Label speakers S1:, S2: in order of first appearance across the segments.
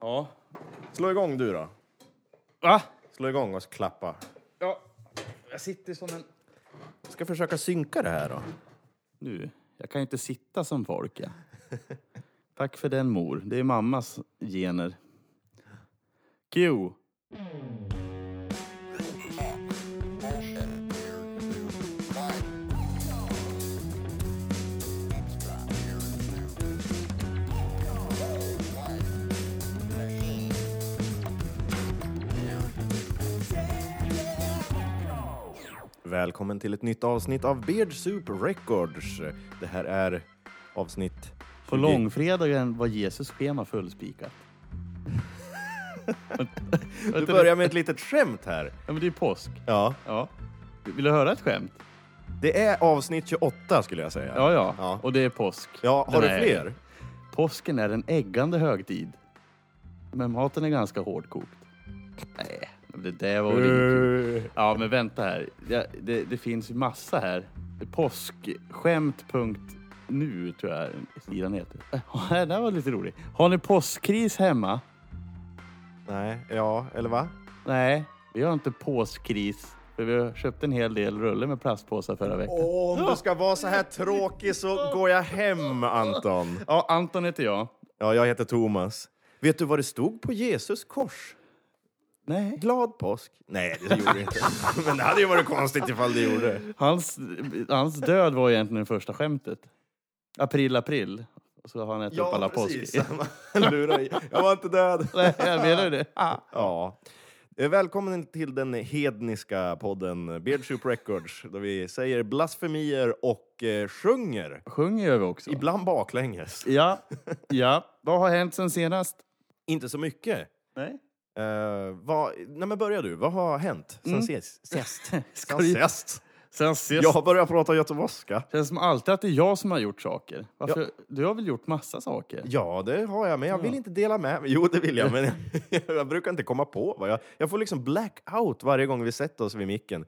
S1: Ja.
S2: Slå igång du då.
S1: Va?
S2: Slå igång och klappa.
S1: Ja. Jag sitter som en...
S2: Jag ska försöka synka det här då.
S1: Nu, jag kan ju inte sitta som folk. Ja. Tack för den mor. Det är mammas gener. Q.
S2: Välkommen till ett nytt avsnitt av Beard Soup Records. Det här är avsnitt...
S1: På
S2: 20.
S1: långfredagen var Jesus schema fullspikat.
S2: Du börjar med ett litet skämt här.
S1: Ja, men det är ju påsk.
S2: Ja.
S1: Ja. Vill du höra ett skämt?
S2: Det är avsnitt 28 skulle jag säga.
S1: Ja, ja.
S2: Ja.
S1: Och det är påsk.
S2: Ja, har
S1: Den
S2: du
S1: är-
S2: fler?
S1: Påsken är en äggande högtid. Men maten är ganska hårdkokt. Nej, men det där var väl
S2: Eh,
S1: inget kul. Ja, men vänta här. Ja, det, det finns ju massa här. Påskskämt.nu tror jag sidan heter. Äh, Det där var lite roligt. Har ni påskkris hemma?
S2: Nej, ja, eller va?
S1: Nej, vi har inte påskkris. För vi har köpt en hel del rulle med plastpåsar förra veckan.
S2: Om du ska vara så här tråkig så går jag hem, Anton.
S1: Ja, Anton heter jag.
S2: Ja, jag heter Thomas. Vet du vad det stod på Jesus kors?
S1: Nej.
S2: Glad påsk. Nej, det gjorde det inte. Men det hade ju varit konstigt ifall det gjorde.
S1: Hans, hans död var egentligen det första skämtet. April, april. Och så har han ätit upp alla påsk.
S2: Lura i. Jag var inte död.
S1: Nej, jag menar ju det. Ah.
S2: Ja. Eh, Välkommen till den hedniska podden Beard Soup Records där vi säger blasfemier och eh, sjunger.
S1: Sjunger gör vi också.
S2: Ibland baklänges.
S1: Ja, ja. Vad har hänt sen senast?
S2: Inte så mycket.
S1: Nej.
S2: Eh, vad, nej men börja du, vad har hänt sen ses? sist?
S1: Ska
S2: Sen
S1: du-
S2: sist?
S1: Sen ses.
S2: Jag har börjat prata göteborgska.
S1: Känns som alltid att det är jag som har gjort saker. Varför? Du har väl gjort massa saker?
S2: Ja, det har jag, men jag vill inte dela med mig. Jo, det vill jag, men jag brukar inte komma på. Vad jag, jag får liksom blackout varje gång vi sätter oss vid micken.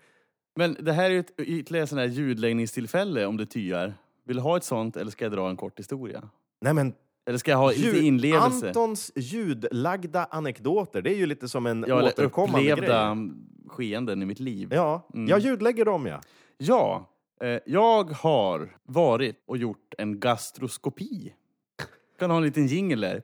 S1: Men det här är ju ett- ytterligare sån här ljudläggningstillfälle om det tyar. Vill du ha ett sånt eller ska jag dra en kort historia?
S2: Nej, men
S1: Eller ska jag ha lite inlevelse?
S2: Antons ljudlagda anekdoter, det är ju lite som en
S1: ja, eller
S2: återkommande
S1: upplevda Mm.
S2: grej.
S1: skeenden i mitt liv.
S2: Ja, jag ljudlägger dem, ja.
S1: Ja, eh, jag har varit och gjort en gastroskopi. Kan ha en liten jingel där.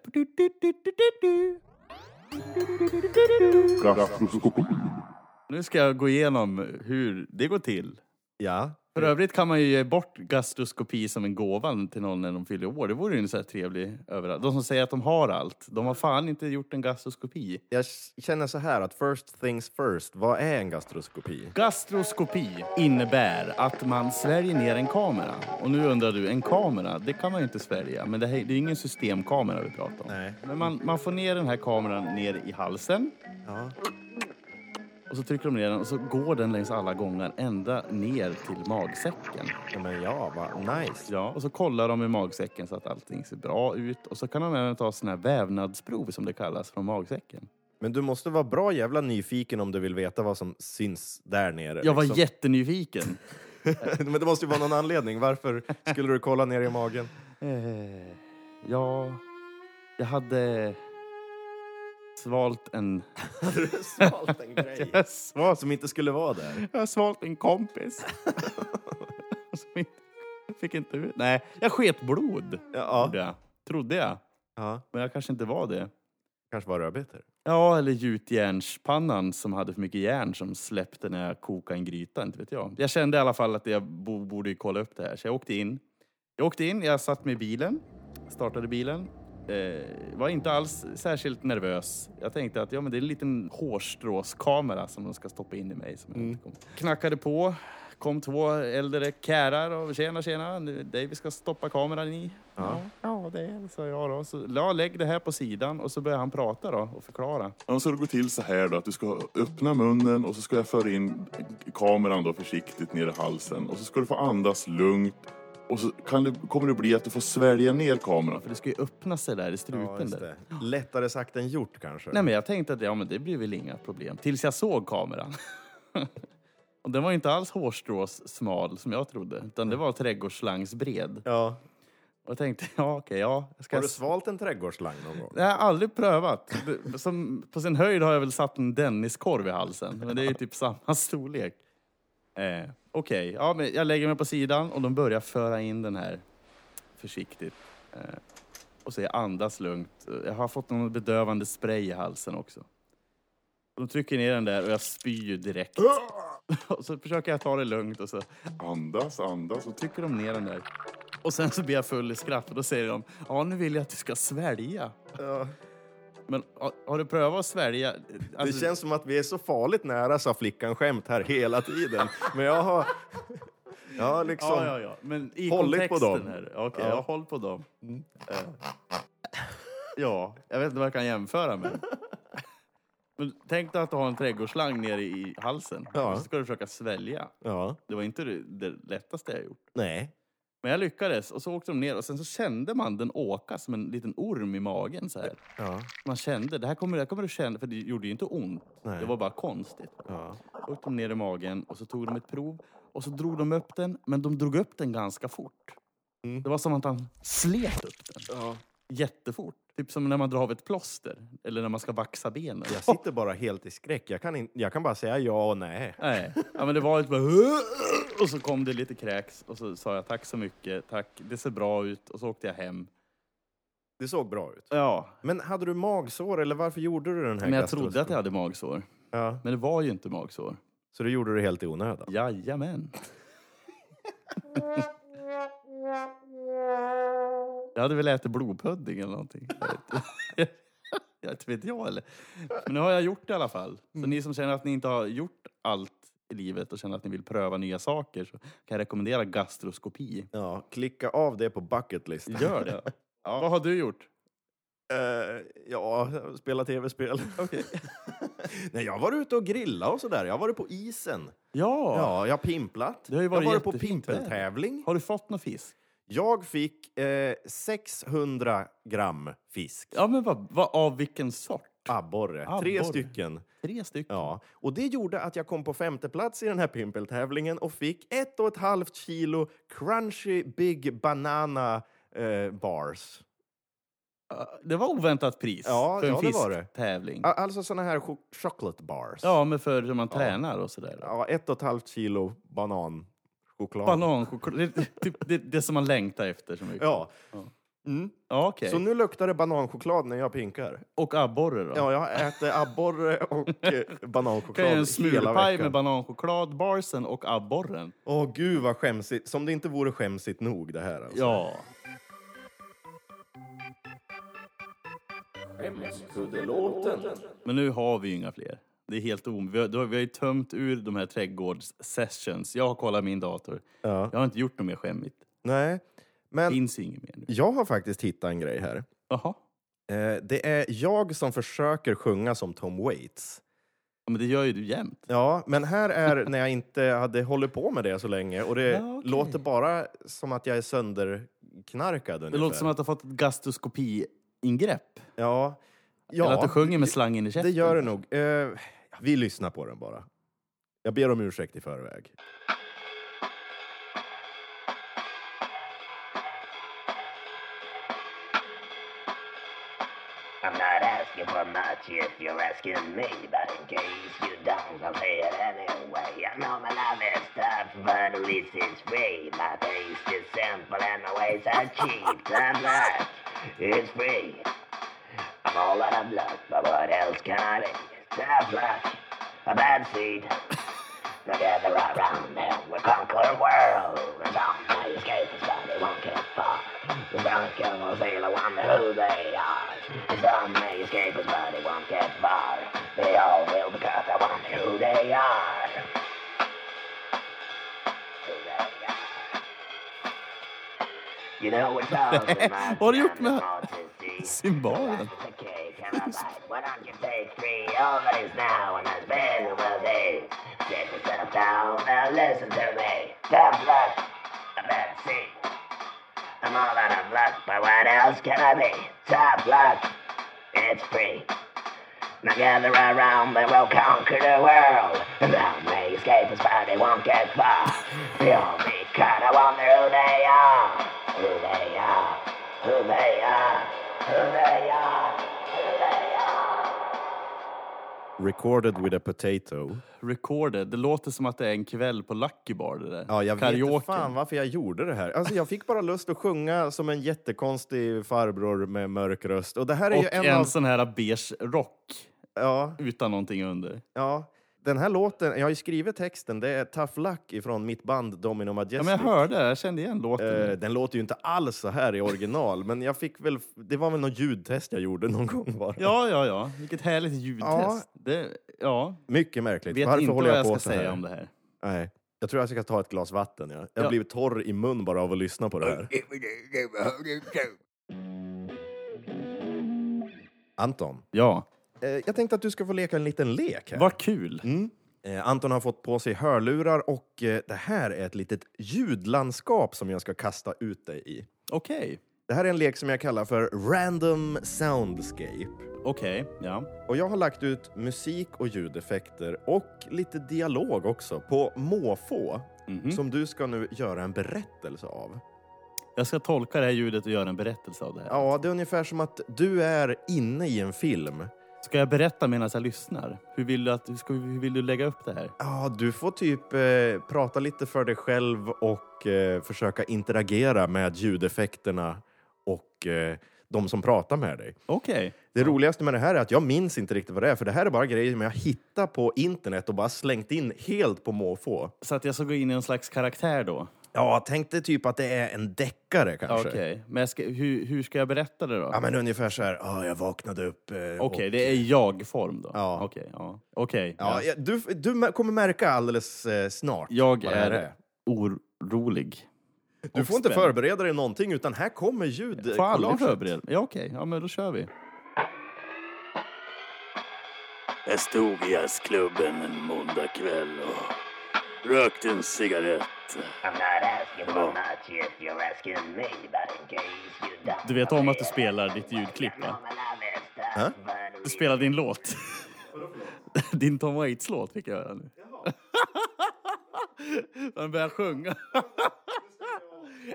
S1: Nu ska jag gå igenom hur det går till.
S2: Ja,
S1: För övrigt kan man ju ge bort gastroskopi som en gåva till någon när de fyller år. Det vore ju en så här trevlig överallt. De som säger att de har allt, de har fan inte gjort en gastroskopi.
S2: jag känner så här att first things first, vad är en gastroskopi?
S1: Gastroskopi innebär att man sväljer ner en kamera. Och nu undrar du, en kamera, det kan man ju inte svälja. Men det, här, det är ju ingen systemkamera vi pratar om.
S2: Nej.
S1: Men man, man får ner den här kameran ner i halsen.
S2: Ja.
S1: Och så trycker de ner den och så går den längs alla gångar ända ner till magsäcken.
S2: Ja, Men ja, vad nice.
S1: Ja, och så kollar de i magsäcken så att allting ser bra ut. Och så kan de även ta såna här vävnadsprov som det kallas från magsäcken.
S2: Men du måste vara bra jävla nyfiken om du vill veta vad som syns där nere.
S1: Jag var
S2: liksom.
S1: jättenyfiken.
S2: Men det måste ju vara någon anledning. Varför skulle du kolla ner i magen?
S1: Eh, ja, jag hade svalt en...
S2: Hade du svalt en grej? Som inte skulle vara där?
S1: Jag har svalt en kompis. Som inte, fick inte ut... Nej, jag sket blod.
S2: Ja.
S1: Gjorde jag. Trodde jag.
S2: ja.
S1: Men jag kanske inte var det.
S2: Kanske var rödbetor?
S1: Ja, eller gjutjärnspannan som hade för mycket järn som släppte när jag kokade en gryta, inte vet jag. Jag kände i alla fall att jag bo- borde ju kolla upp det här, så jag åkte in. Jag åkte in, jag satt mig i bilen, startade bilen. Eh, var inte alls särskilt nervös. Jag tänkte att ja, men det är en liten hårstråskamera som de ska stoppa in i mig. Som jag inte kommer. Knackade på, kom två äldre kärar och tjena tjena, nu är det dig vi ska stoppa kameran i. Ja, ja det är det, sa jag då. Så, ja, lägg det här på sidan och så började han prata då och förklara.
S3: Ja, så det går till så här då att du ska öppna munnen och så ska jag föra in kameran då försiktigt ner i halsen och så ska du få andas lugnt och så kan det, kommer det bli att du får svälja ner kameran.
S1: För det ska ju öppna sig där i strupen. där.
S2: Lättare sagt än gjort kanske?
S1: Nej, men jag tänkte att ja, men det blir väl inga problem. Tills jag såg kameran. och den var ju inte alls hårstråssmal som jag trodde. Utan det var trädgårdsslangs bred.
S2: Ja.
S1: Och jag tänkte, ja okej, ja. jag Ska
S2: Har du svalt en trädgårdsslang någon gång?
S1: jag har aldrig prövat. B- Som, på sin höjd har jag väl satt en Denniskorv i halsen, men det är ju typ samma storlek. Eh, Okej, ja, men jag lägger mig på sidan och de börjar föra in den här försiktigt. Eh, och så jag andas lugnt. Jag har fått någon bedövande spray i halsen också. De trycker ner den där och jag spyr ju direkt. Och så försöker jag ta det lugnt och så
S3: Andas, andas. Och
S1: trycker de ner den där. Och sen så blir jag full i skratt och då säger de ja nu vill jag att du ska svälja. Men har, har du prövat att svälja?
S2: Det
S1: Alltså,
S2: känns som att vi är så farligt nära, sa flickan skämt här hela tiden. Men jag har... Jag har liksom...
S1: ja, ja, ja. Men i
S2: Hållit på
S1: kontexten
S2: dem.
S1: här. Okej,
S2: Ja. Mm.
S1: jag håll på dem. Eh. Ja, jag vet inte vad jag kan jämföra med. Men tänk dig att du har en trädgårdsslang nere i halsen.
S2: Ja.
S1: Och så ska du försöka svälja.
S2: Ja.
S1: Det var inte det, det lättaste jag gjort.
S2: Nej.
S1: Men jag lyckades och så åkte de ner och sen så kände man den åka som en liten orm i magen så här.
S2: Ja.
S1: Man kände, det här kommer, det här kommer du känna, för det gjorde ju inte ont.
S2: Nej.
S1: Det var bara konstigt.
S2: Ja.
S1: Då åkte de ner i magen och så tog de ett prov och så drog de upp den, men de drog upp den ganska fort.
S2: Mm.
S1: Det var som att han slet upp den
S2: ja.
S1: jättefort. Typ som när man drar av ett plåster eller när man ska vaxa benen.
S2: Jag sitter bara helt i skräck. Jag kan, in, jag kan bara säga ja och nej.
S1: Nej, ja, men det var ett bara... Och så kom det lite kräks och så sa jag tack så mycket, tack, det ser bra ut och så åkte jag hem.
S2: Det såg bra ut.
S1: Ja,
S2: Men hade du magsår eller varför gjorde du den här
S1: men jag
S2: gastroskopi-
S1: trodde att jag hade magsår.
S2: Ja.
S1: Men det var ju inte magsår.
S2: Så du gjorde det helt i onödan?
S1: Jajamän. Jag hade väl ätit blodpudding eller någonting. Jag vet inte. Jag vet inte jag eller. Men nu har jag gjort det i alla fall. Så ni som känner att ni inte har gjort allt i livet och känner att ni vill pröva nya saker så kan jag rekommendera gastroskopi.
S2: Ja, klicka av det på bucketlistan.
S1: Gör det. Ja. Vad har du gjort?
S2: Eh, ja, spela tv-spel. Nej, jag har varit ute och grilla och sådär. Jag har varit på isen.
S1: Ja.
S2: Ja, jag har pimplat.
S1: Det har ju
S2: jag har
S1: varit
S2: varit på
S1: jättefint väder.
S2: pimpeltävling.
S1: Har du fått någon fisk?
S2: Jag fick eh, 600 gram fisk.
S1: Ja, men vad, vad, av vilken sort?
S2: Abborre. Tre
S1: Abborre.
S2: stycken.
S1: Tre stycken?
S2: Ja, och det gjorde att jag kom på femte plats i den här pimpeltävlingen och fick ett och ett halvt kilo crunchy big banana eh, bars.
S1: Det var oväntat pris
S2: Ja,
S1: för en
S2: ja, det var det.
S1: fisktävling.
S2: A- Alltså såna här cho- chocolate bars.
S1: Ja, men för hur man tränar och sådär.
S2: Ja, ett och ett halvt kilo bananchoklad.
S1: Bananchoklad, det, är typ, det, det som man längtar efter så mycket. Ja,
S2: Ja. Mm.
S1: okej.
S2: Så nu luktar det bananchoklad när jag pinkar.
S1: Och abborre då?
S2: Ja, jag äter abborre och eh,
S1: kan jag
S2: bananchoklad
S1: göra en
S2: hela
S1: smulpaj med
S2: veckan.
S1: bananchoklad, barsen och abborren.
S2: Åh gud vad skämsigt. Som det inte vore skämsigt nog det här alltså.
S1: Ja. Men nu har vi ju inga fler. Det är helt om. Vi har, då har- vi har ju tömt ur de här trädgårds-sessions. Jag har kollat min dator.
S2: Ja.
S1: Jag har inte gjort något mer skämmigt.
S2: Nej,
S1: Det
S2: men
S1: finns ju inget mer nu.
S2: jag har faktiskt hittat en grej här.
S1: Jaha.
S2: Eh, det är jag som försöker sjunga som Tom Waits.
S1: Ja, Men det gör ju du jämt.
S2: Ja, men här är när jag inte hade hållit på med det så länge och det
S1: Ja, Ah, okej.
S2: låter bara som att jag är sönderknarkad
S1: Det
S2: ungefär.
S1: låter som att du har fått ett gastroskopi-ingrepp.
S2: Ja,
S1: Eller att du
S2: ja
S1: sjunger med slangen i käften.
S2: det gör det nog. Eh, vi lyssnar på den bara. Jag ber om ursäkt i förväg.
S4: I'm not asking for much if you're asking me, but in case you don't, I'll say it anyway. I know my love is tough, but at least it's free. My taste is simple and my ways are cheap. Some love is free. I'm all out of luck, but what else can I do? Tough luck, a bad seed. Together around them, we conquer the world. The zombie escape is but they won't get far. The brown skin will see the wonder who they are. The zombie escape is but they won't get far. They all will because they wonder who they are. Who they are. You know it's all in my
S1: Vad har du gjort med
S4: heart to see.
S1: cymbalen?
S4: I'm all out of luck, but what else can I be? Top luck, it's free. Now gather around, they will conquer the world. And thou may escape us, but they won't get far. They'll be caught, I wonder who they are. Who they are. who they are, who they are, who they are.
S2: Recorded with a potato.
S1: Recorded. Det låter som att det är en kväll på Lucky Bar det där.
S2: Ja, jag vet
S1: Karaoke.
S2: inte fan varför jag gjorde det här. Alltså, jag fick bara lust att sjunga som en jättekonstig farbror med mörk röst. Och det här är ju
S1: Och
S2: en,
S1: en
S2: av...
S1: sån här beige rock
S2: Ja,
S1: utan någonting under.
S2: ja. Den här låten, jag har ju skrivit texten, det är Tough Luck ifrån mitt band Domino Majestic.
S1: Ja, men jag hörde det, jag kände igen låten.
S2: Eh, den låter ju inte alls så här i original, men jag fick väl... Det var väl något ljudtest jag gjorde någon gång bara.
S1: Ja, ja, ja. Vilket härligt ljudtest.
S2: Ja.
S1: Det, ja.
S2: Mycket märkligt.
S1: Vet
S2: Varför
S1: inte vad
S2: håller jag,
S1: jag
S2: på så
S1: ska
S2: här?
S1: säga om det här.
S2: Nej. Jag tror jag ska ta ett glas vatten. Ja. Jag har
S1: Ja.
S2: blivit torr i mun bara av att lyssna på det här. Anton,
S1: Ja,
S2: eh, jag tänkte att du ska få leka en liten lek här.
S1: vad kul.
S2: Mm. Eh, Anton har fått på sig hörlurar och eh, det här är ett litet ljudlandskap som jag ska kasta ut dig i.
S1: Okej,
S2: Det här är en lek som jag kallar för Random Soundscape.
S1: okej, ja.
S2: Och jag har lagt ut musik och ljudeffekter och lite dialog också på måfå
S1: Mhm.
S2: som du ska nu göra en berättelse av.
S1: Jag ska tolka det här ljudet och göra en berättelse av det här.
S2: Ja, det är ungefär som att du är inne i en film.
S1: Ska jag berätta medan jag lyssnar? Hur vill du, att, hur ska, hur vill du lägga upp det här?
S2: Ja, du får typ eh, prata lite för dig själv och eh, försöka interagera med ljudeffekterna och eh, de som pratar med dig.
S1: Okej.
S2: Det roligaste med det här är att jag minns inte riktigt vad det är för det här är bara grejer som jag hittat på internet och bara slängt in helt på måfå.
S1: Så att jag ska gå in i en slags karaktär då?
S2: Ja, tänk dig typ att det är en deckare kanske.
S1: Okej. Men jag ska, hur, hur ska jag berätta det då?
S2: Ja, men ungefär så här, "Ah, jag vaknade upp. Eh,
S1: Okej,
S2: och-
S1: det är jag-form då?
S2: Ja.
S1: Okej, ja. Okej.
S2: Ja,
S1: ja.
S2: ja, du, du mär- kommer märka alldeles eh, snart
S1: Jag
S2: vad det här
S1: är orolig.
S2: Du får inte
S1: spänd.
S2: förbereda dig någonting, utan här kommer ljud.
S1: Får alla
S2: kollaget.
S1: förbereda? Ja, okej. Ja, men då kör vi.
S5: Jag stod i jazzklubben en måndagkväll och rökte en cigarett.
S4: I'm not asking for much if you're asking me, but in case you don't.
S1: Du vet om att du spelar ditt ljudklipp, va?
S4: Huh?
S1: Du spelar din låt. Din Tom Waits-låt fick jag höra nu. Han börjar sjunga.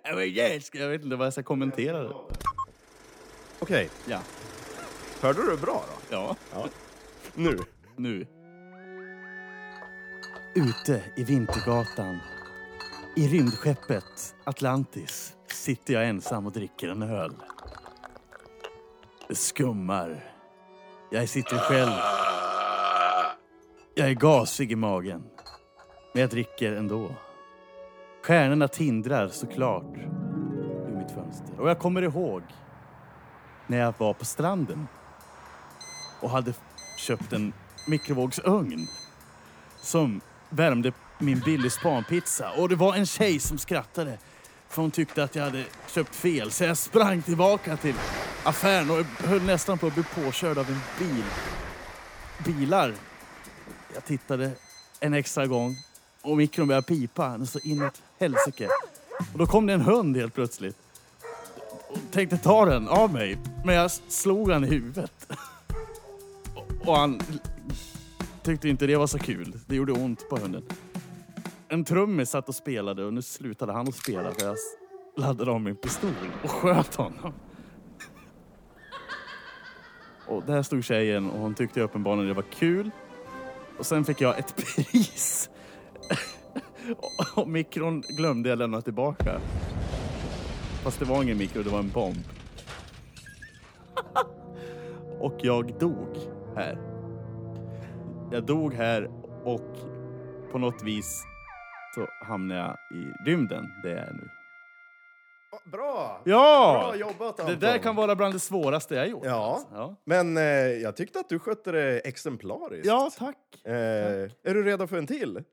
S1: Ja, men Jag ska- jag vet inte vad jag ska kommentera. det.
S2: Okej,
S1: Ja.
S2: hörde du bra då?
S1: ja.
S2: Nu.
S1: nu. Ute i Vintergatan, i rymdskeppet Atlantis, sitter jag ensam och dricker en öl. Det skummar. Jag sitter själv. Jag är gasig i magen, men jag dricker ändå. Stjärnorna tindrar såklart ur mitt fönster. Och jag kommer ihåg när jag var på stranden och hade köpt en mikrovågsugn som värmde min Billys spanpizza. Och det var en tjej som skrattade för hon tyckte att jag hade köpt fel. Så jag sprang tillbaka till affären och höll nästan på att bli påkörd av en bil. Bilar. Jag tittade en extra gång och mikron började pipa den så inåt helsike. Och då kom det en hund helt plötsligt. Och tänkte ta den av mig, men jag slog han i huvudet. Och han tyckte inte det var så kul. Det gjorde ont på hunden. En trummis satt och spelade och nu slutade han att spela för jag s- laddade om min pistol och sköt honom. Och där stod tjejen och hon tyckte uppenbarligen det var kul. Och sen fick jag ett pris. Och- Och mikron glömde jag lämna tillbaka. Fast det var ingen mikro, det var en bomb. Och jag dog här. Jag dog här och på något vis så hamnade jag i rymden, det är jag nu.
S2: Bra!
S1: Ja!
S2: Bra jobbat,
S1: det
S2: Anton.
S1: där kan vara bland det svåraste jag gjort.
S2: Ja.
S1: alltså. Ja,
S2: Men eh, jag tyckte att du skötte det exemplariskt.
S1: ja tack.
S2: Eh, är du redo för en till?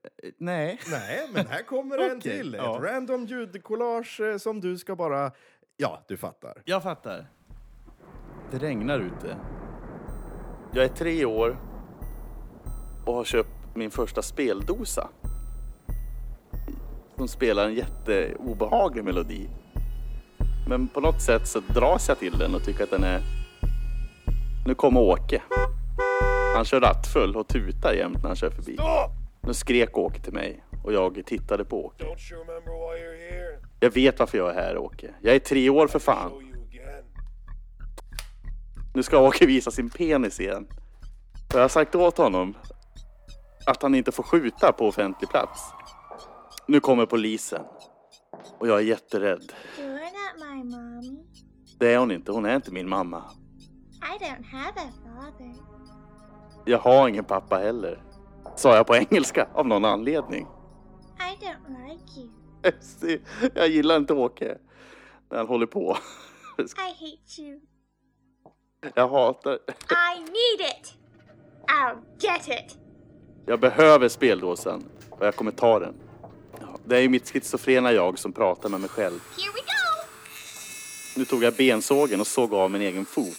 S1: Nej.
S2: Nej, men här kommer en
S1: Okej,
S2: till. Ett
S1: ja.
S2: random ljudkollage eh, som du ska bara... Ja, du fattar.
S1: Jag fattar. Det regnar ute. Jag är tre år och har köpt min första speldosa. Som spelar en jätteobehaglig melodi. Men på något sätt så dras jag till den och tycker att den är... Nu kommer Åke. Han kör rattfull och tutar jämt när han kör förbi. Nu skrek Åke till mig och jag tittade på Åke.
S6: Don't you remember why you're here?
S1: Jag vet varför jag är här Åke. Jag är tre år för fan.
S6: Show you again.
S1: Nu ska Åke visa sin penis igen. För jag har sagt åt honom att han inte får skjuta på offentlig plats. Nu kommer polisen. Och jag är jätterädd.
S7: You're not my mommy.
S1: Det är hon inte. Hon är inte min mamma.
S7: I don't have a father.
S1: Jag har ingen pappa heller. Sa jag på engelska av någon anledning.
S7: I don't like you.
S1: Se, Jag gillar inte Åke. När han håller på.
S7: I hate you.
S1: Jag hatar...
S7: I need it. I'll get it.
S1: Jag behöver speldåsen. Och jag kommer ta den. Ja, Det är ju mitt schizofrena jag som pratar med mig själv.
S7: Here we go.
S1: Nu tog jag bensågen och såg av min egen fot.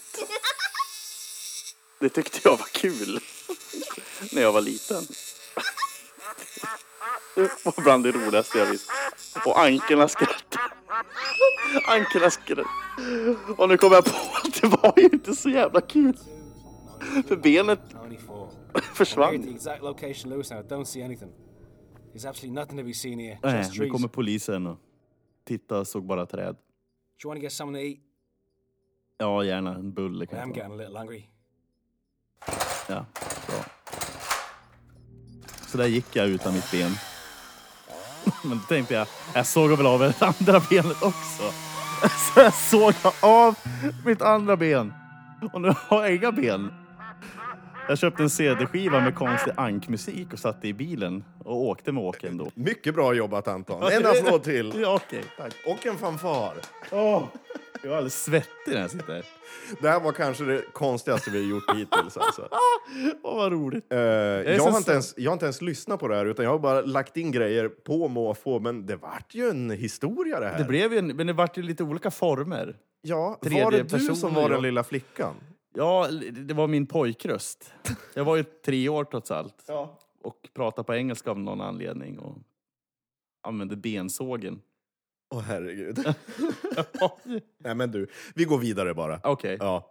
S1: Det tyckte jag var kul. När jag var liten. Det var bland det roligaste jag visste. Och ankorna skrattade. Ankorna skrattade. Och nu kom jag på att det var ju inte så jävla kul. För benet
S8: 94. I'm here at the
S1: försvann.
S8: exact location Lewis now. Don't see anything. There's absolutely nothing to be seen here.
S1: Nej,
S8: Just
S1: nu
S8: trees.
S1: kommer
S8: Do
S1: polisen och tittade och såg bara träd.
S8: you want to get something to eat?
S1: Ja, gärna en bulle
S8: I am
S1: kanske.
S8: getting a little hungry.
S1: Ja, bra. Så där gick jag utan mitt ben. Men då tänkte jag, jag såg väl av det andra benet också. Så jag såg av mitt andra ben. Och nu har jag inga ben. Jag köpte en CD-skiva med konstig ankmusik och satte i bilen och åkte med Åke ändå.
S2: Mycket bra jobbat, Anton. En applåd till.
S1: Ja, okej. Tack.
S2: Och en fanfar.
S1: Åh, jag är alldeles svettig när jag sitter här.
S2: Det här var kanske det konstigaste vi har gjort hittills. Alltså.
S1: Åh, vad roligt.
S2: Eh, jag,
S1: så
S2: har inte
S1: sö-
S2: ens, jag har inte ens lyssnat på det här, utan jag har bara lagt in grejer på måfå. Men det vart ju en historia det här.
S1: Det blev ju en, men det vart ju lite olika former.
S2: ja, var
S1: tredje
S2: det du
S1: person
S2: som var den
S1: jag-
S2: lilla flickan?
S1: Ja, det var min pojkröst. Jag var ju tre år trots allt. Och pratade på engelska av någon anledning och använde bensågen.
S2: Åh, herregud. Nej, men du, vi går vidare bara.
S1: Okej.
S2: Ja.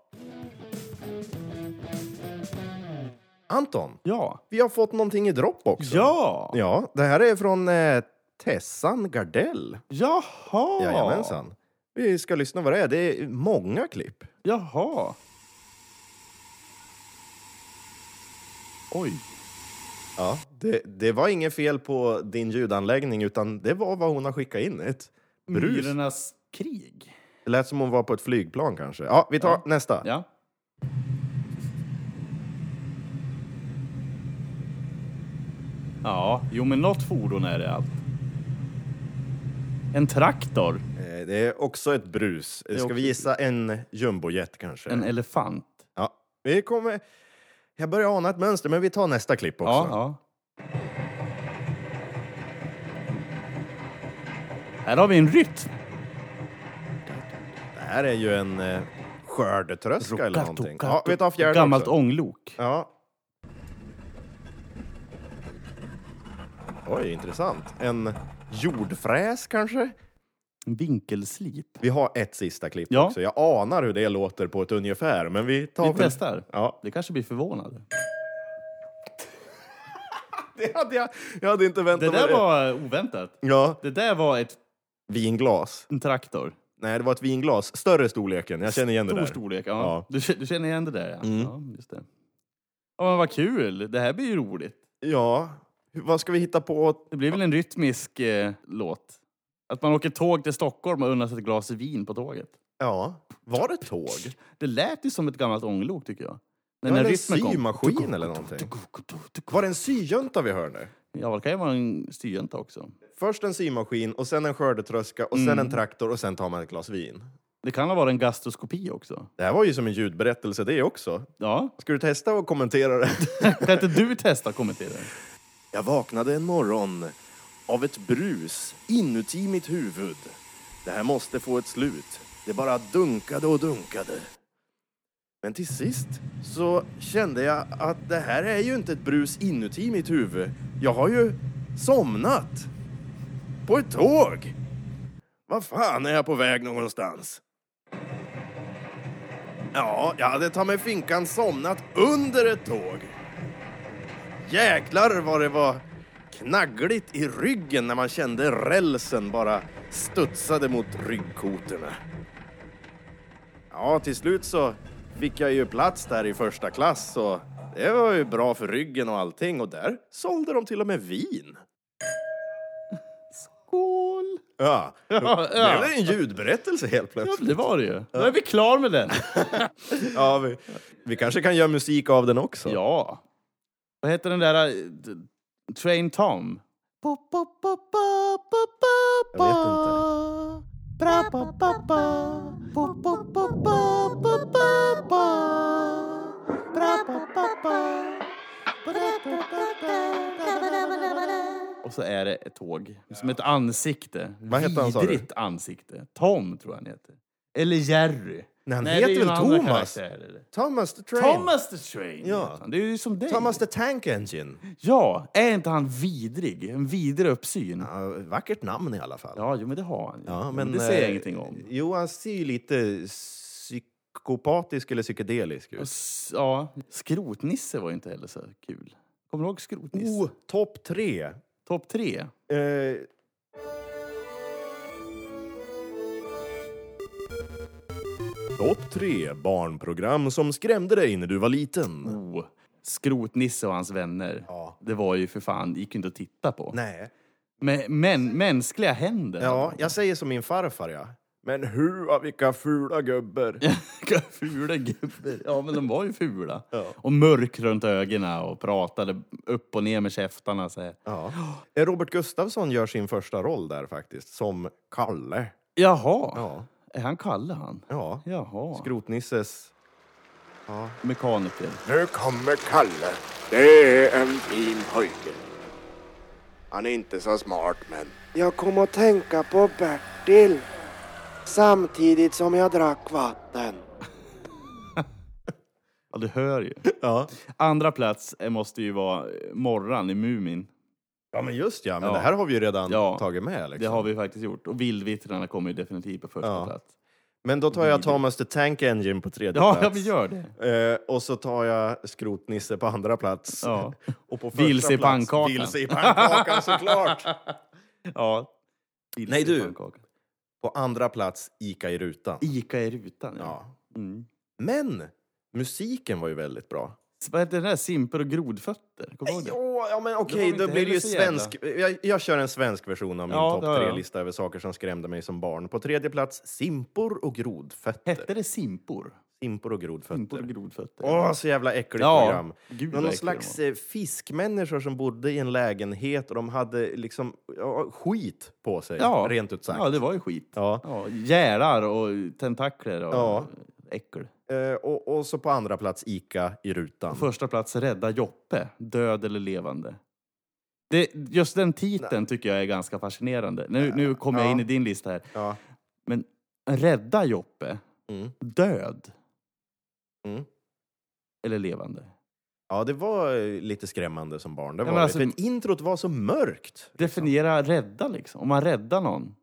S2: Anton,
S1: Ja.
S2: vi har fått någonting i dropp också.
S1: Ja!
S2: Ja, det här är från eh, Tessan Gardell.
S1: Jaha!
S2: Jajamensan. Vi ska lyssna vad det är. Det är många klipp.
S1: Jaha. Oj.
S2: Ja, det, det var inget fel på din ljudanläggning, utan det var vad hon har skickat in. Ett brus.
S1: Myrornas krig.
S2: Det lät som hon var på ett flygplan kanske. Ja, vi tar nästa.
S1: Ja. Ja, jo men något fordon är det allt. En traktor.
S2: Eh, Det är också ett brus. Ska
S1: också-
S2: vi gissa en jumbojet kanske?
S1: En elefant.
S2: Ja, vi kommer... Jag börjar ana ett mönster, men vi tar nästa klipp också.
S1: Ja, ja. Här har vi en rytm.
S2: Det här är ju en eh, skördetröska eller någonting.
S1: Rokato,
S2: Ja, vi tar fjärde
S1: Gammalt
S2: också.
S1: ånglok.
S2: Ja. Oj, intressant. En jordfräs kanske?
S1: En vinkelslip.
S2: Vi har ett sista klipp
S1: Ja.
S2: också. Jag anar hur det låter på ett ungefär, men vi tar
S1: Vi
S2: väl-
S1: testar.
S2: Ja.
S1: Det kanske blir förvånade.
S2: Det hade jag, jag hade inte
S1: Det
S2: väntat mig.
S1: där var oväntat.
S2: Ja,
S1: Det där var ett,
S2: vinglas.
S1: en traktor.
S2: Nej, det var ett vinglas. Större storleken. Jag känner igen det
S1: Stor
S2: där.
S1: storlek. Ja.
S2: Ja. Mm.
S1: Du, k- du känner igen det där, ja. ja just det. Ja, men vad kul! Det här blir ju roligt.
S2: Ja. Hur- Vad ska vi hitta på?
S1: Det blir väl en rytmisk eh, låt? Att man åker tåg till Stockholm och unnar sig ett glas vin på tåget.
S2: Ja, var det tåg?
S1: Det lät ju som ett gammalt ånglok, tycker jag.
S2: Det
S1: Men
S2: var det
S1: när
S2: en
S1: rytmen kom...
S2: symaskin eller någonting? Var det en syjunta vi hörde?
S1: Ja, det kan ju vara en syjunta också.
S2: Först en symaskin och sen en skördetröska och sen en traktor och sen tar man ett glas vin.
S1: Det kan ha varit en gastroskopi också.
S2: Det här var ju som en ljudberättelse det också.
S1: Ja.
S2: Ska du testa och kommentera det?
S1: Kan inte du testa och kommentera?
S2: Jag vaknade en morgon av ett brus inuti mitt huvud. Det här måste få ett slut. Det bara dunkade och dunkade. Men till sist så kände jag att det här är ju inte ett brus inuti mitt huvud. Jag har ju somnat. På ett tåg. Vad fan är jag på väg någonstans? Ja, jag hade ta mig finkan somnat under ett tåg. Jäklar vad det var knaggligt i ryggen när man kände rälsen bara studsade mot ryggkotorna. Ja, till slut så
S9: fick jag ju plats där i första klass och det var ju bra för ryggen och allting och där sålde de till och med vin.
S1: Skål!
S2: Ja,
S1: Ja,
S2: det är
S1: ja.
S2: väl en ljudberättelse helt
S1: ja,
S2: plötsligt.
S1: det var det ju. Då är vi klar med den.
S2: Ja, vi, vi kanske kan göra musik av den också.
S1: Ja. Vad heter den där... eh, d- Train Tom?
S2: Jag vet inte.
S1: Och så är det ett tåg. Som ett ansikte.
S2: Vad heter han, sa du?
S1: Vidrigt ansikte. Tom, tror jag han heter. Eller Jerry.
S2: Nej, han
S1: det är
S2: heter
S1: ju
S2: väl
S1: en annan
S2: Thomas?
S1: karaktär, eller?
S2: Thomas the Train.
S1: Thomas the Train!
S2: Ja.
S1: heter han. Det är ju som dig.
S2: Thomas the Tank Engine.
S1: Ja, är inte han vidrig? En vidrig uppsyn.
S2: Ja, vackert namn i alla fall.
S1: Ja, jo, men det har han. ju.
S2: Ja,
S1: Jo,
S2: men,
S1: det säger jag
S2: eh,
S1: ingenting om.
S2: Jo, han ser ju lite psykopatisk eller psykedelisk
S1: Och
S2: ut.
S1: s- Ja, Skrotnisse var ju inte heller så kul. Kommer du ihåg Skrotnisse?
S2: Oh, topp tre.
S1: Topp tre.
S2: Eh,
S9: Topp tre barnprogram som skrämde dig när du var liten.
S1: Oh. Skrotnisse och hans vänner.
S2: Ja.
S1: Det var ju för fan, gick ju inte att titta på.
S2: nej.
S1: Men, men mänskliga händer.
S2: Ja, jag säger som min farfar, ja. Men hua, vilka fula gubbar.
S1: Vilka fula gubbar. Ja, men de var ju fula. Och mörk runt ögonen och pratade upp och ner med käftarna. Så här.
S2: Ja. Eh, Robert Gustafsson gör sin första roll där faktiskt, som Kalle.
S1: Jaha.
S2: Ja.
S1: Är han Kalle han?
S2: Ja.
S1: Jaha.
S2: Skrotnisses...
S1: Mekaniker.
S10: Nu kommer Kalle. Det är en fin pojke.
S9: Han är inte så smart, men...
S11: Jag kom att tänka på Bertil samtidigt som jag drack vatten.
S1: Ja, du hör ju.
S2: Ja.
S1: Andra plats eh, måste ju vara eh, Morran i Mumin.
S2: ja, men just ja. Men
S1: Ja.
S2: det här har vi ju redan
S1: Ja.
S2: tagit med. Liksom.
S1: Det har vi faktiskt gjort. Och Vildvittrarna kommer ju definitivt på första
S2: Ja.
S1: plats.
S2: Men då tar jag Thomas the Tank Engine på tredje
S1: Mm. Ja, ja,
S2: plats.
S1: vi gör det.
S2: Eh, och så tar jag Skrotnisse på andra plats.
S1: Ja.
S2: Och på första
S1: Vilse i
S2: plats-
S1: pannkakan.
S2: Vilse i pannkakan såklart!
S1: Ja.
S2: Nej, du.
S1: Pannkakan.
S2: På andra plats Ica i rutan.
S1: Ica i rutan. Ja.
S2: Ja.
S1: Mm.
S2: Men musiken var ju väldigt bra.
S1: Så Vad heter den där? Simper och grodfötter? Kommer du ihåg det?
S2: Ja, ja men
S1: Det var
S2: okej,
S1: inte
S2: då blir det
S1: heller
S2: ju
S1: så jävla-
S2: svensk. Jag, jag kör en svensk version av min
S1: Ja,
S2: topp
S1: det har jag.
S2: tre-lista över saker som skrämde mig som barn. På tredje plats Simpor och grodfötter.
S1: Hette det simpor?
S2: Simpor och
S1: Simpor
S2: grodfötter.
S1: och grodfötter.
S2: Åh, så jävla äckligt
S1: Ja,
S2: program.
S1: gud
S2: Det var
S1: vad
S2: någon
S1: äckligt
S2: slags
S1: det
S2: eh, fiskmänniskor som bodde i en lägenhet och de hade liksom ja, skit på sig, eh, rent ut sagt.
S1: Ja, det var ju skit.
S2: Ja.
S1: Ja, gärar och tentakler och
S2: Ja.
S1: äckel.
S2: Eh, och, och så på andra plats Ica i rutan.
S1: Första plats, Rädda Joppe. Död eller levande. Det, just den titeln tycker jag är ganska fascinerande. Nu, nu kommer jag in i din lista här.
S2: Ja.
S1: Men Rädda Joppe.
S2: Mm.
S1: Död.
S2: Mm.
S1: Eller levande.
S2: Ja, det var eh, lite skrämmande som barn. Det
S1: men
S2: var
S1: alltså-
S2: det. För att introt var så mörkt.
S1: Definiera rädda liksom. Om man räddar någon,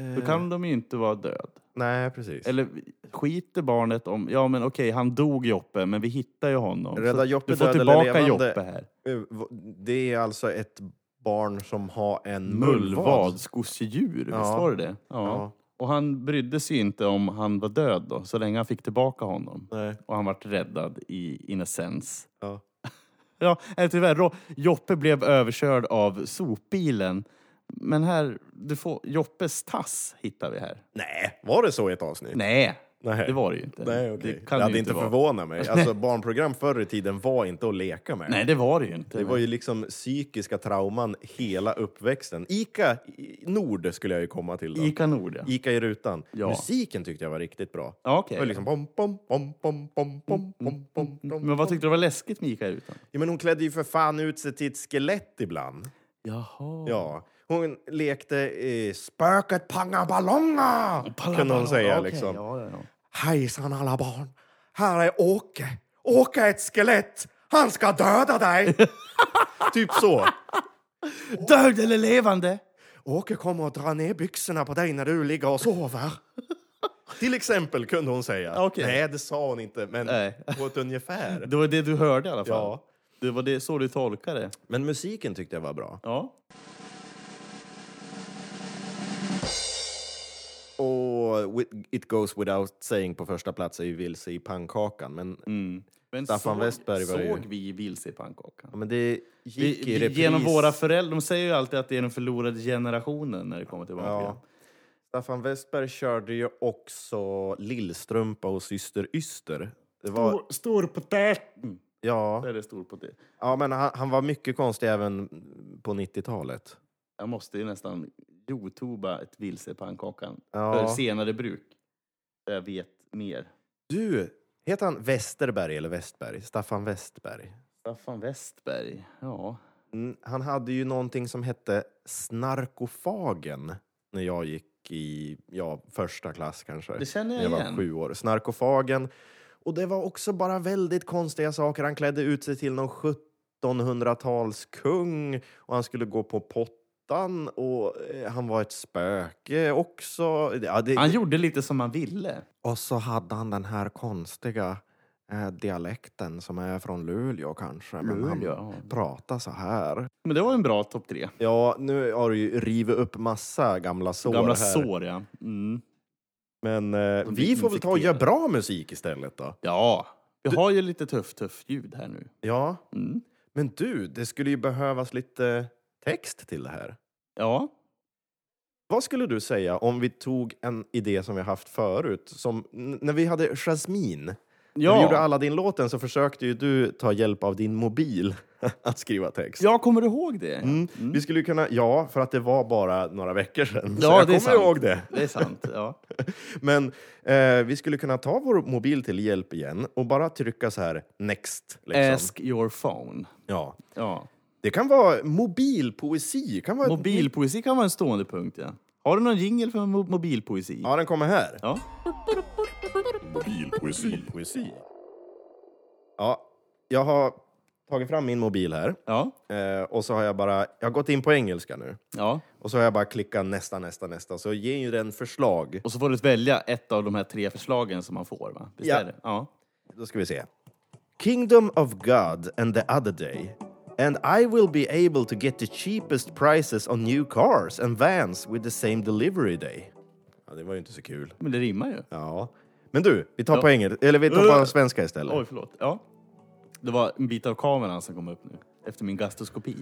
S2: Eh,
S1: då kan de ju inte vara död.
S2: Nej, precis.
S1: Eller skiter barnet om... Ja, men okej, han dog Joppe, men vi hittar ju honom.
S2: Rädda
S1: Så
S2: Joppe,
S1: du får
S2: död eller
S1: tillbaka
S2: levande.
S1: Joppe här.
S2: Eh, v- Det är alltså ett barn som har en
S1: Mullvad, skossedjur.
S2: Ja.
S1: Visst var det det? Ja.
S2: Ja.
S1: Och han brydde sig ju inte om han var död då, så länge han fick tillbaka honom.
S2: Nej.
S1: Och han vart räddad i innocens.
S2: Ja.
S1: Ja, eller tyvärr. Ro- Joppe blev överkörd av sopbilen. Men här, du får, Joppes tass hittar vi här.
S2: Nej, var det så i ett avsnitt?
S1: Nej,
S2: Nej.
S1: det var det ju inte.
S2: Nej, okej.
S1: Det
S2: Det,
S1: kan det
S2: hade
S1: ju
S2: inte
S1: inte vara.
S2: förvånat mig. Alltså, barnprogram förr i tiden var inte att leka med.
S1: Nej, det var det ju inte.
S2: Det var ju liksom psykiska trauman hela uppväxten. Ica i- Nord skulle jag ju komma till då.
S1: Ica Nord, ja.
S2: Ica i rutan.
S1: Ja.
S2: Musiken tyckte jag var riktigt bra.
S1: ja okej. Mm,
S2: Det var liksom pom, pom, pom, pom, pom, pom, pom, pom, pom.
S1: Men vad tyckte du var läskigt med Ica i rutan?
S2: Ja, men hon klädde ju för fan ut sig till ett skelett ibland.
S1: Jaha.
S2: Ja. Hon lekte eh, spöket pangaballonga, kunde hon säga.
S1: Okej,
S2: liksom.
S1: ja, ja, ja.
S2: Hejsan alla barn, här är Åke. Åke är ett skelett, han ska döda dig! typ så.
S1: Död eller levande?
S2: Åke kommer att dra ner byxorna på dig när du ligger och sover. Till exempel kunde hon säga.
S1: Okej.
S2: Nej, det sa hon inte, men
S1: Nej.
S2: på ett ungefär.
S1: Det var det du hörde i alla fall.
S2: Ja.
S1: Det var det, så du tolkade det.
S2: Men musiken tyckte jag var bra.
S1: Ja.
S2: och Wi- It Goes Without Saying på första plats är ju Vilse i pannkakan. Men,
S1: Mm. Men
S2: Staffan Westberg var ju-
S1: såg vi vilse i pannkakan?
S2: ja, men det
S1: Vi,
S2: gick i
S1: vi,
S2: repris.
S1: genom våra föräldrar. De säger ju alltid att det är den förlorade generationen när det kommer till barnprogram.
S2: Ja. Staffan Westberg körde ju också Lillstrumpa och Syster Yster. Det var,
S1: Storpotäten!
S2: ja,
S1: Där är det storpotet.
S2: ja, men han, han var mycket konstig även på 90-talet.
S1: Jag måste ju nästan youtuba ett vilse i pannkakan för
S2: Ja.
S1: senare bruk. Jag vet mer.
S2: Du, heter han Westerberg eller Westberg? Staffan Westberg.
S1: Staffan Westberg, ja.
S2: Mm, Han hade ju någonting som hette Snarkofagen när jag gick i ja, första klass kanske.
S1: Det känner jag
S2: När jag
S1: igen.
S2: var sju år. Snarkofagen. Och det var också bara väldigt konstiga saker. Han klädde ut sig till någon 1700-talskung och han skulle gå på pottan och eh, han var ett spöke också. Ja, det,
S1: Han gjorde lite som han ville.
S2: och så hade han den här konstiga eh, dialekten som är från Luleå kanske. Men han
S1: Luleå, ja.
S2: pratade så här.
S1: Men det var en bra topp tre.
S2: Ja, nu har du ju rivit upp massa gamla sår
S1: Gamla
S2: här.
S1: sår, ja. Mm.
S2: Men eh,
S1: De
S2: vi
S1: blir
S2: får väl ta och göra
S1: infekterade.
S2: bra musik istället då.
S1: Ja, vi har ju lite tufft, tufft ljud här nu.
S2: Ja,
S1: Mm.
S2: men du, det skulle ju behövas lite text till det här.
S1: Ja,
S2: Vad skulle du säga om vi tog en idé som vi haft förut? Som n- när vi hade Jasmine. När vi gjorde
S1: ja.
S2: Aladdin-låten så försökte ju du ta hjälp av din mobil att skriva text.
S1: Jag kommer ihåg det.
S2: Mm. Vi skulle ju kunna, ja, för att det var bara några veckor sedan. så
S1: Ja,
S2: jag
S1: det är
S2: kommer
S1: sant.
S2: ihåg det.
S1: Det är sant. Ja.
S2: Men eh, vi skulle kunna ta vår mobil till hjälp igen och bara trycka så här next. Liksom.
S1: Ask your phone.
S2: Ja.
S1: Ja.
S2: Det kan vara mobilpoesi. Kan vara
S1: Mobilpoesi kan vara en stående punkt. Ja. Har du någon jingel för mo- mobilpoesi?
S2: Ja, den kommer här.
S1: Ja.
S3: Bilpoesi.
S2: Poesi. Ja, jag har tagit fram min mobil här
S1: Ja.
S2: eh, och så har jag bara, jag har gått in på engelska nu
S1: ja.
S2: och så har jag bara klickat nästa, nästa, nästa så ger ju den förslag.
S1: Och så får du välja ett av de här tre förslagen som man får. Va? Visst
S2: Ja.
S1: är det? Ja.
S2: Då ska vi se. Kingdom of God and the other day. And I will be able to get the cheapest prices on new cars and vans with the same delivery day. Ja, det var ju inte så kul.
S1: Men det rimmar ju.
S2: Ja. Men du, vi tar på engelska, eller vi tar på svenska istället.
S1: Oj, förlåt. Ja. Det var en bit av kameran som kom upp nu. Efter min gastroskopi.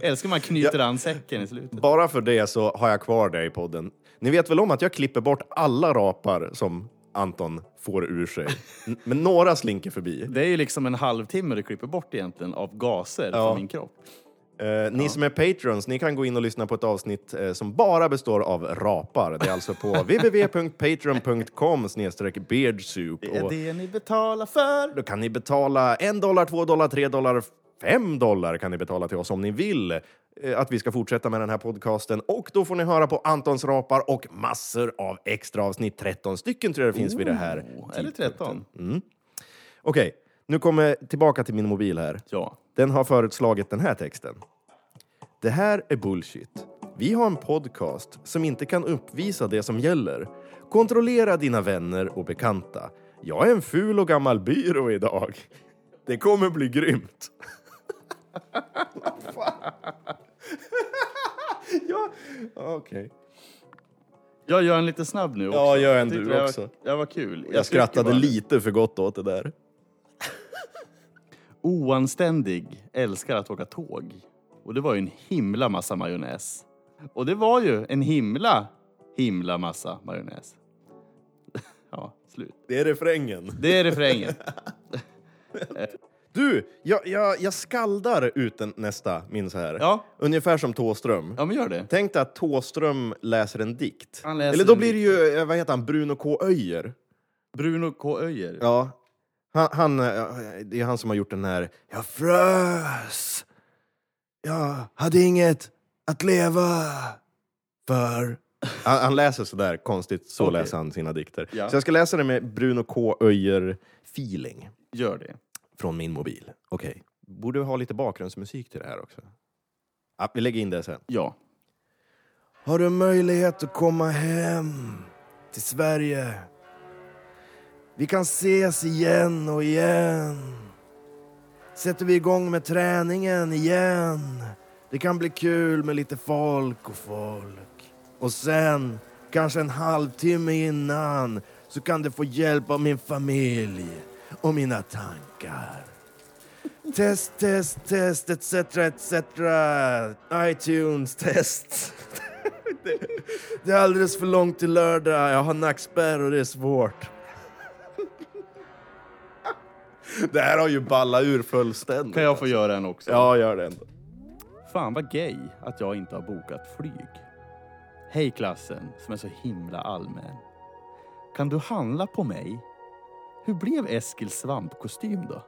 S1: Älskar man knyter an säcken i slutet.
S2: Bara för det så har jag kvar dig i podden. Ni vet väl om att jag klipper bort alla rapar som Anton får ur sig. N- Men några slinker förbi.
S1: Det är ju liksom en halvtimme du klipper bort egentligen av gaser från min kropp.
S2: Eh, ni som är patrons, ni kan gå in och lyssna på ett avsnitt eh, som bara består av rapar. Det är alltså på www.patreon.com beardsoup.
S1: Det är
S2: Och
S1: det ni betalar för.
S2: då kan ni betala en dollar, två dollar, tre dollar, fem dollar kan ni betala till oss om ni vill eh, att vi ska fortsätta med den här podcasten. Och då får ni höra på Antons rapar och massor av extra avsnitt. 13 stycken tror jag det finns vid det här.
S1: Eller 13.
S2: Okej, nu kommer jag tillbaka till min mobil här.
S1: Ja.
S2: Den har förutslagit den här texten. Det här är bullshit. Vi har en podcast som inte kan uppvisa det som gäller. Kontrollera dina vänner och bekanta. Jag är en ful och gammal byrå idag. Det kommer bli grymt. Vad fan? ja, okej.
S1: Jag gör en lite snabb nu också.
S2: Ja, gör en
S1: Jag tyckte
S2: du
S1: det här
S2: också.
S1: Var, det här var kul.
S2: Jag
S1: tycker
S2: skrattade
S1: bara-
S2: lite för gott åt det där.
S1: Oanständig, älskar att åka tåg. Och det var ju en himla massa majonnäs. Och det var ju en himla, himla massa majonnäs. ja, slut.
S2: Det är refrängen.
S1: Det är refrängen.
S2: Du, jag, jag, jag skaldar ut den nästa, minns här.
S1: Ja.
S2: Ungefär som Tåström.
S1: Ja, men gör det.
S2: Tänk dig att Tåström läser en dikt.
S1: Han läser
S2: Eller då
S1: en
S2: blir det ju, eh, vad heter han, Bruno K. Öijer.
S1: Bruno K. Öijer.
S2: Ja. Han, han, eh, det är han som har gjort den här... Jag frös. Jag hade inget att leva för. Han, han läser sådär konstigt, så
S1: Okej.
S2: läser han sina dikter.
S1: Ja.
S2: Så jag ska läsa det med Bruno K. Öijer-feeling
S1: Gör det.
S2: från min mobil. Okej. Borde vi ha lite bakgrundsmusik till det här också? Ja, vi lägger in det sen.
S1: Ja.
S2: Har du möjlighet att komma hem till Sverige? Vi kan ses igen och igen. Sätter vi igång med träningen igen? Det kan bli kul med lite folk och folk. Och sen, kanske en halvtimme innan, så kan du få hjälp av min familj och mina tankar. Test, test, test, etc, etc. iTunes, test. Det- Det är alldeles för långt till lördag. Jag har nackspärr och det är svårt. Det här har ju ballat ur fullständigt.
S1: Kan jag få göra en också?
S2: Ja, gör det ändå.
S1: Fan vad gay att jag inte har bokat flyg. Hej klassen som är så himla allmän. Kan du handla på mig? Hur blev Eskils svampkostym då?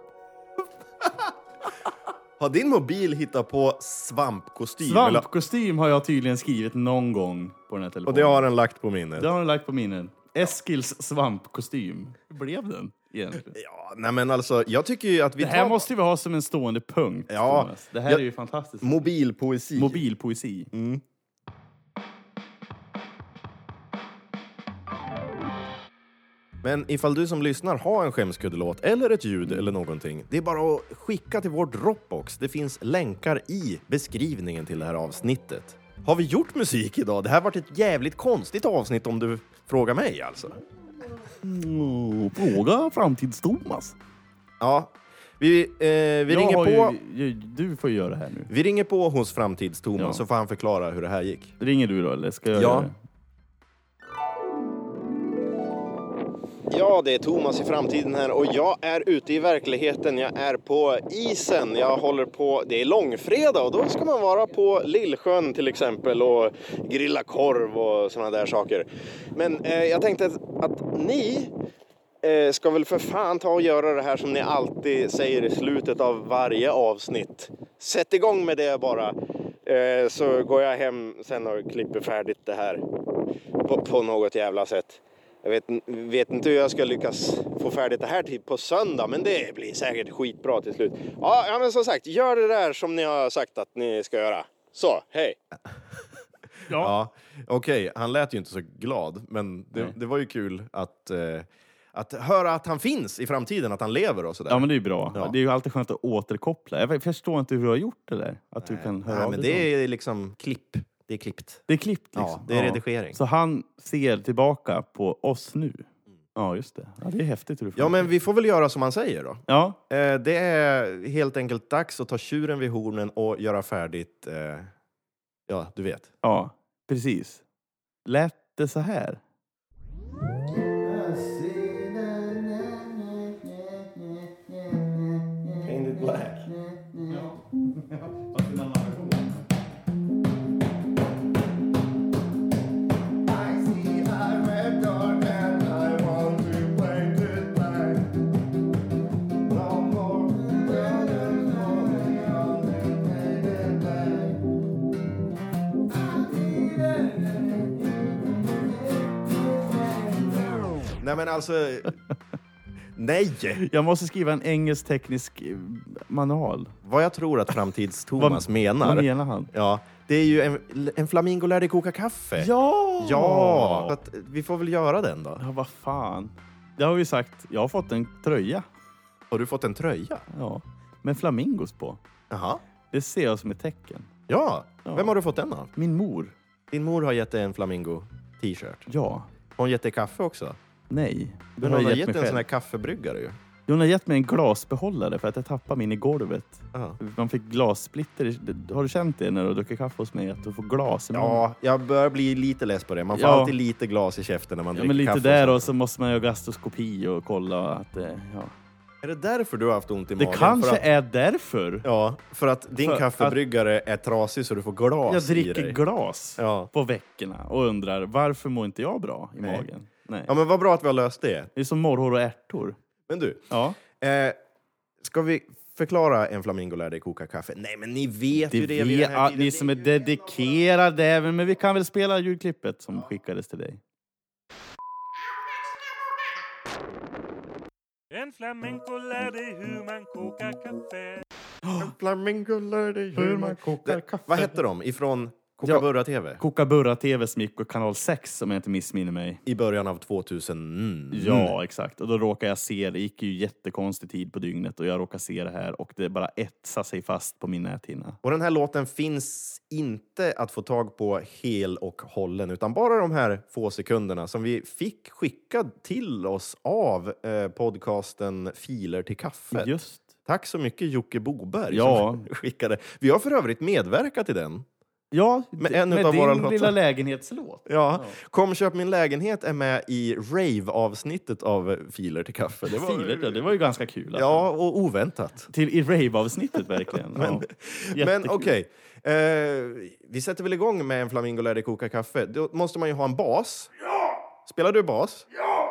S2: Har din mobil hittat på svampkostym? eller-
S1: Svampkostym har jag tydligen skrivit någon gång på den här
S2: Och
S1: telefonen.
S2: det har den lagt på minnet?
S1: Det har du lagt på minnen. Eskils svampkostym. Hur blev den egentligen?
S2: Ja, nej men alltså, jag tycker ju att vi
S1: Det här
S2: tar
S1: måste vi ha som en stående punkt,
S2: Ja, Mm.
S1: Thomas. Det här
S2: jag-
S1: är ju fantastiskt.
S2: mobilpoesi.
S1: Mobilpoesi.
S2: Men ifall du som lyssnar har en skämskuddelåt eller ett ljud eller någonting, det är bara att skicka till vår Dropbox. Det finns länkar i beskrivningen till det här avsnittet. Har vi gjort musik idag? Det här varit ett jävligt konstigt avsnitt om du frågar mig alltså.
S1: Mm. Fråga framtids-Thomas.
S2: Ja, vi, eh, vi
S1: Jag
S2: ringer
S1: har
S2: på.
S1: Ju, ju- du får göra det här nu.
S2: Vi ringer på hos Framtids-Thomas
S1: Ja.
S2: så får han förklara hur det här gick.
S1: Ringer du då eller ska jag
S2: Ja.
S1: göra det?
S2: Ja, det är Thomas i framtiden här och jag är ute i verkligheten. Jag är på isen. Jag håller på. Det är långfredag och då ska man vara på Lillsjön till exempel och grilla korv och sådana där saker. Men eh, jag tänkte att, att ni eh, ska väl för fan ta och göra det här som ni alltid säger i slutet av varje avsnitt. Sätt igång med det bara eh, så går jag hem sen och klipper färdigt det här på, på något jävla sätt. Jag vet, vet inte hur jag ska lyckas få färdigt det här till på söndag, men det blir säkert skitbra till slut. Ja, ja men som sagt, gör det där som ni har sagt att ni ska göra. Så, hej! Ja, okej, han lät ju inte så glad, men det, det var ju kul att, eh, att höra att han finns i framtiden, att han lever och sådär.
S1: Ja men det är ju bra.
S2: Ja.
S1: Det är ju alltid skönt att återkoppla. Jag förstår inte hur du har gjort det där. Att du kan höra
S2: Nej,
S1: av
S2: men
S1: dig så.
S2: det är liksom klipp. Det är klippt.
S1: det är klippt
S2: Ja,
S1: liksom.
S2: det är redigering.
S1: Så han ser tillbaka på oss nu. Ja just det. Ja, det är häftigt hur du
S2: Mm. Ja, men vi får väl göra som han säger då.
S1: ja.
S2: Eh, det är helt enkelt dags att ta tjuren vid hornen och göra färdigt... Eh, ja, du vet.
S1: ja, precis. Lät det så här?
S2: Painted black. Nej men alltså... Nej!
S1: Jag måste skriva en engelsk teknisk eh, manual.
S2: Vad jag tror att Framtids-Thomas menar,
S1: Vad menar han?
S2: Ja, det är ju en, en flamingo lär dig koka kaffe.
S1: Ja!
S2: Ja! Så att, eh, vi får väl göra den då.
S1: Ja, vad fan. Det har vi sagt. Jag har fått en tröja.
S2: Har du fått en tröja?
S1: Ja. Med flamingos på.
S2: Jaha.
S1: Det ser jag som ett tecken.
S2: Ja.
S1: Ja.
S2: Vem har du fått den av?
S1: Min mor.
S2: Din mor har gett dig en flamingo-t-shirt.
S1: Ja.
S2: Har hon gett dig kaffe också?
S1: Nej.
S2: Men
S1: Den
S2: hon
S1: har
S2: har
S1: jag
S2: gett dig
S1: gett mig
S2: en sån här
S1: själv.
S2: kaffebryggare ju.
S1: Hon har gett mig en glasbehållare för att jag tappade min i golvet.
S2: Ja.
S1: Man fick glassplitter. i- Har du känt det när du dricker kaffe hos mig? Att du får glas i munnen?
S2: ja, jag börjar bli lite less på det. Man får
S1: Mm. Ja.
S2: alltid lite glas i käften när man
S1: Ja,
S2: dricker
S1: men lite
S2: kaffe.
S1: där
S2: sånt.
S1: och så måste man göra gastroskopi och kolla att eh, ja.
S2: Är det därför du har haft ont i
S1: det
S2: magen?
S1: kanske
S2: för att,
S1: är därför
S2: Ja, för att din
S1: För att-
S2: kaffebryggare är trasig så du får glas
S1: jag
S2: i dig.
S1: dricker glas
S2: Ja.
S1: på veckorna och undrar varför mår inte jag bra i
S2: Nej.
S1: magen? Nej.
S2: Ja, men vad bra att vi har löst det.
S1: Det är som morrhår och ärtor.
S2: Men du,
S1: Ja,
S2: eh, ska vi förklara en flamingo lär dig koka kaffe? Nej, men ni vet
S1: det
S2: ju det vid
S1: vet
S2: den här
S1: ja,
S2: tiden.
S1: ni som är dedikerade även, men vi kan väl spela ljudklippet som skickades till dig.
S11: En flamenco lär dig hur man kokar kaffe.
S2: En flamingo lär dig hur man kokar kaffe. Vad hette de? Ifrån Kokaburra-TV.
S1: Kokaburra-TVs mikrokanal 6 om jag inte missminner mig.
S2: I början av 2000.
S1: Ja, exakt. Och då råkade jag se, det gick ju jättekonstig tid på dygnet och jag råkade se det här och det bara etsade sig fast på min näthinna.
S2: Och den här låten finns inte att få tag på hel och hållen utan bara de här få sekunderna som vi fick skickad till oss av eh, podcasten Filer till kaffet.
S1: Just.
S2: Tack så mycket Jocke Boberg
S1: Ja.
S2: som skickade. Vi har för övrigt medverkat i den.
S1: Ja,
S2: med en
S1: med
S2: utav
S1: din
S2: våra
S1: lilla
S2: låtar.
S1: lägenhetslåt.
S2: Ja. Kom köp min lägenhet är med i rave-avsnittet av Filer till kaffe. Det var,
S1: Filer, ja, det var ju ganska kul. alltså.
S2: ja, och oväntat.
S1: Till i rave-avsnittet verkligen.
S2: Men- Men
S1: ja. Jättekul.
S2: okej, eh, vi sätter väl igång med en Flamingo lär dig koka kaffe. Då måste man ju ha en bas. Ja! Spelar du bas? Ja!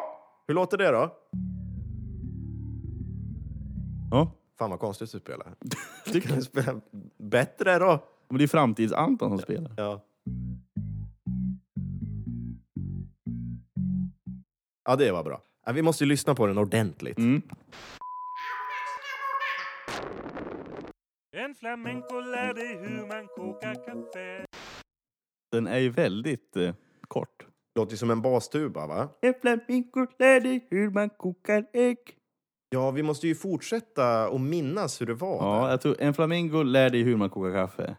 S2: Hur låter det då?
S1: Ja.
S2: Fan vad konstigt du spelar. Du kan ju spela bättre då.
S1: Men det är ju framtids-Anton som spelar.
S2: Ja. Ja, det var bra. Ja, Vi måste ju lyssna på den ordentligt.
S1: Mm.
S11: En flamenco lär dig hur man kokar kaffe.
S1: Den är ju väldigt eh, kort.
S2: Låter ju som en bastuba, va?
S1: En flamingo lär dig hur man kokar ägg.
S2: Ja, vi måste ju fortsätta och minnas hur det var.
S1: Ja, jag tror, en flamingo lär dig hur man kokar kaffe.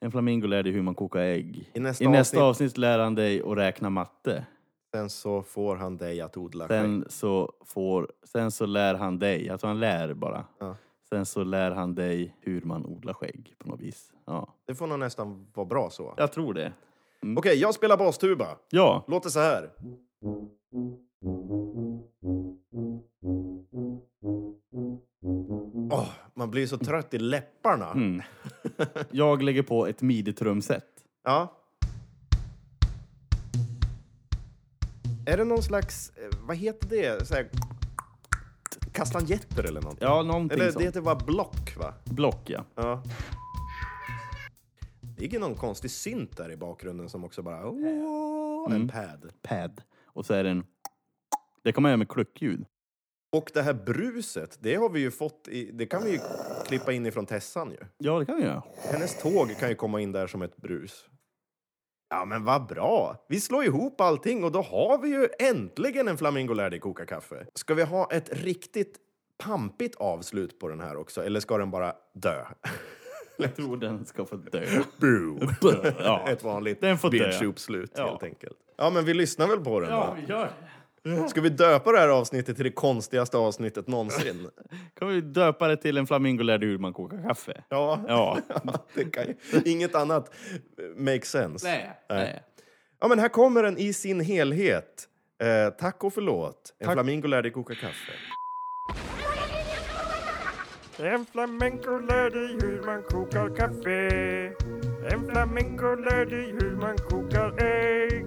S1: En flamingo lär dig hur man kokar ägg.
S2: I nästa
S1: Mm. I nästa
S2: avsnitt-
S1: avsnitt, lär han dig att räkna matte.
S2: Sen så får han dig att odla skägg.
S1: Sen så, får, sen så lär han dig, alltså han lär bara.
S2: Ja.
S1: Sen så lär han dig hur man odlar skägg på något vis. Ja,
S2: Det får nog nästan vara bra så.
S1: jag tror det. Mm.
S2: Okej, jag spelar bastuba.
S1: Ja,
S2: Låter så här. Åh, man blir så trött i läpparna.
S1: Mm. jag lägger på ett midi-trumset.
S2: Ja. Är det någon slags, eh, vad heter det? Så här, kastanjetter eller någonting?
S1: Ja, någonting
S2: eller det
S1: sånt.
S2: heter bara block va?
S1: Block, ja.
S2: Ja. Det ligger någon konstig synt där i bakgrunden som också bara... Åh, en pad.
S1: Pad. Och så är det en... Det kommer jag med kluckljud.
S2: Och det här bruset, det har vi ju fått i, Det kan vi ju klippa in ifrån Tessan ju.
S1: Ja, det kan vi göra.
S2: Hennes tåg kan ju komma in där som ett brus. Ja, men vad bra! Vi slår ihop allting och då har vi ju äntligen en flamingo lär dig koka kaffe. Ska vi ha ett riktigt pampigt avslut på den här också, eller ska den bara dö?
S1: Jag tror den ska få dö.
S2: Boo!
S1: Ja.
S2: Ett vanligt
S1: Den får dö.
S2: bitch-uppslut,
S1: Ja.
S2: helt enkelt. Ja, men vi lyssnar väl på den då?
S1: vi gör det.
S2: Ska vi döpa det här avsnittet till det konstigaste avsnittet någonsin?
S1: kan vi döpa det till en flamingo lärde hur man kokar kaffe.
S2: Ja.
S1: Ja.
S2: det kan ju, inget annat makes sense.
S1: Nej. Nej.
S2: Ja, men här kommer den i sin helhet. Eh, tack och förlåt. En
S1: Tack.
S2: flamingo lärde koka kaffe.
S11: En flamenco lär dig hur man kokar kaffe. En flamenco lär dig hur man kokar ägg.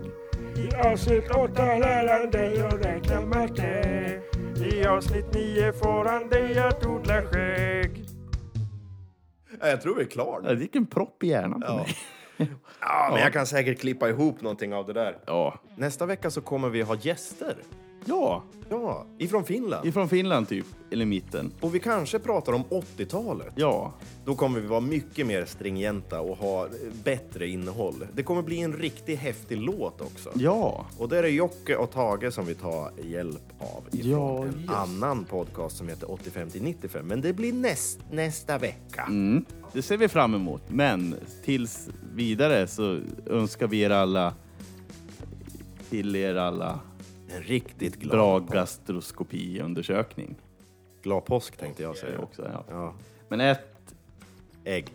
S11: I avsnitt åtta lär han dig att räkna matte. I avsnitt nio får han dig att odla skägg.
S2: Ja, jag tror vi är klara nu.
S1: Det gick en propp i hjärnan på mig.
S2: Ja, men jag kan säkert klippa ihop någonting av det där.
S1: Ja.
S2: Nästa vecka så kommer vi ha gäster.
S1: Ja,
S2: Ja, ifrån Finland.
S1: ifrån Finland typ. Eller mitten.
S2: Och vi kanske pratar om 80-talet.
S1: Ja.
S2: Då kommer vi vara mycket mer stringenta och ha eh, bättre innehåll. Det kommer bli en riktigt häftig låt också.
S1: Ja.
S2: Och där är Jocke och Tage som vi tar hjälp av ifrån
S1: Ja,
S2: en
S1: just.
S2: annan podcast som heter 85 till 95. Men det blir näst, nästa vecka.
S1: Mm. Det ser vi fram emot. Men tills vidare så önskar vi er alla... Till er alla
S2: En riktigt glad,
S1: bra gastroskopiundersökning.
S2: glad påsk tänkte jag
S1: Det är
S2: säga.
S1: också, ja.
S2: Ja,
S1: Men ät
S2: ägg.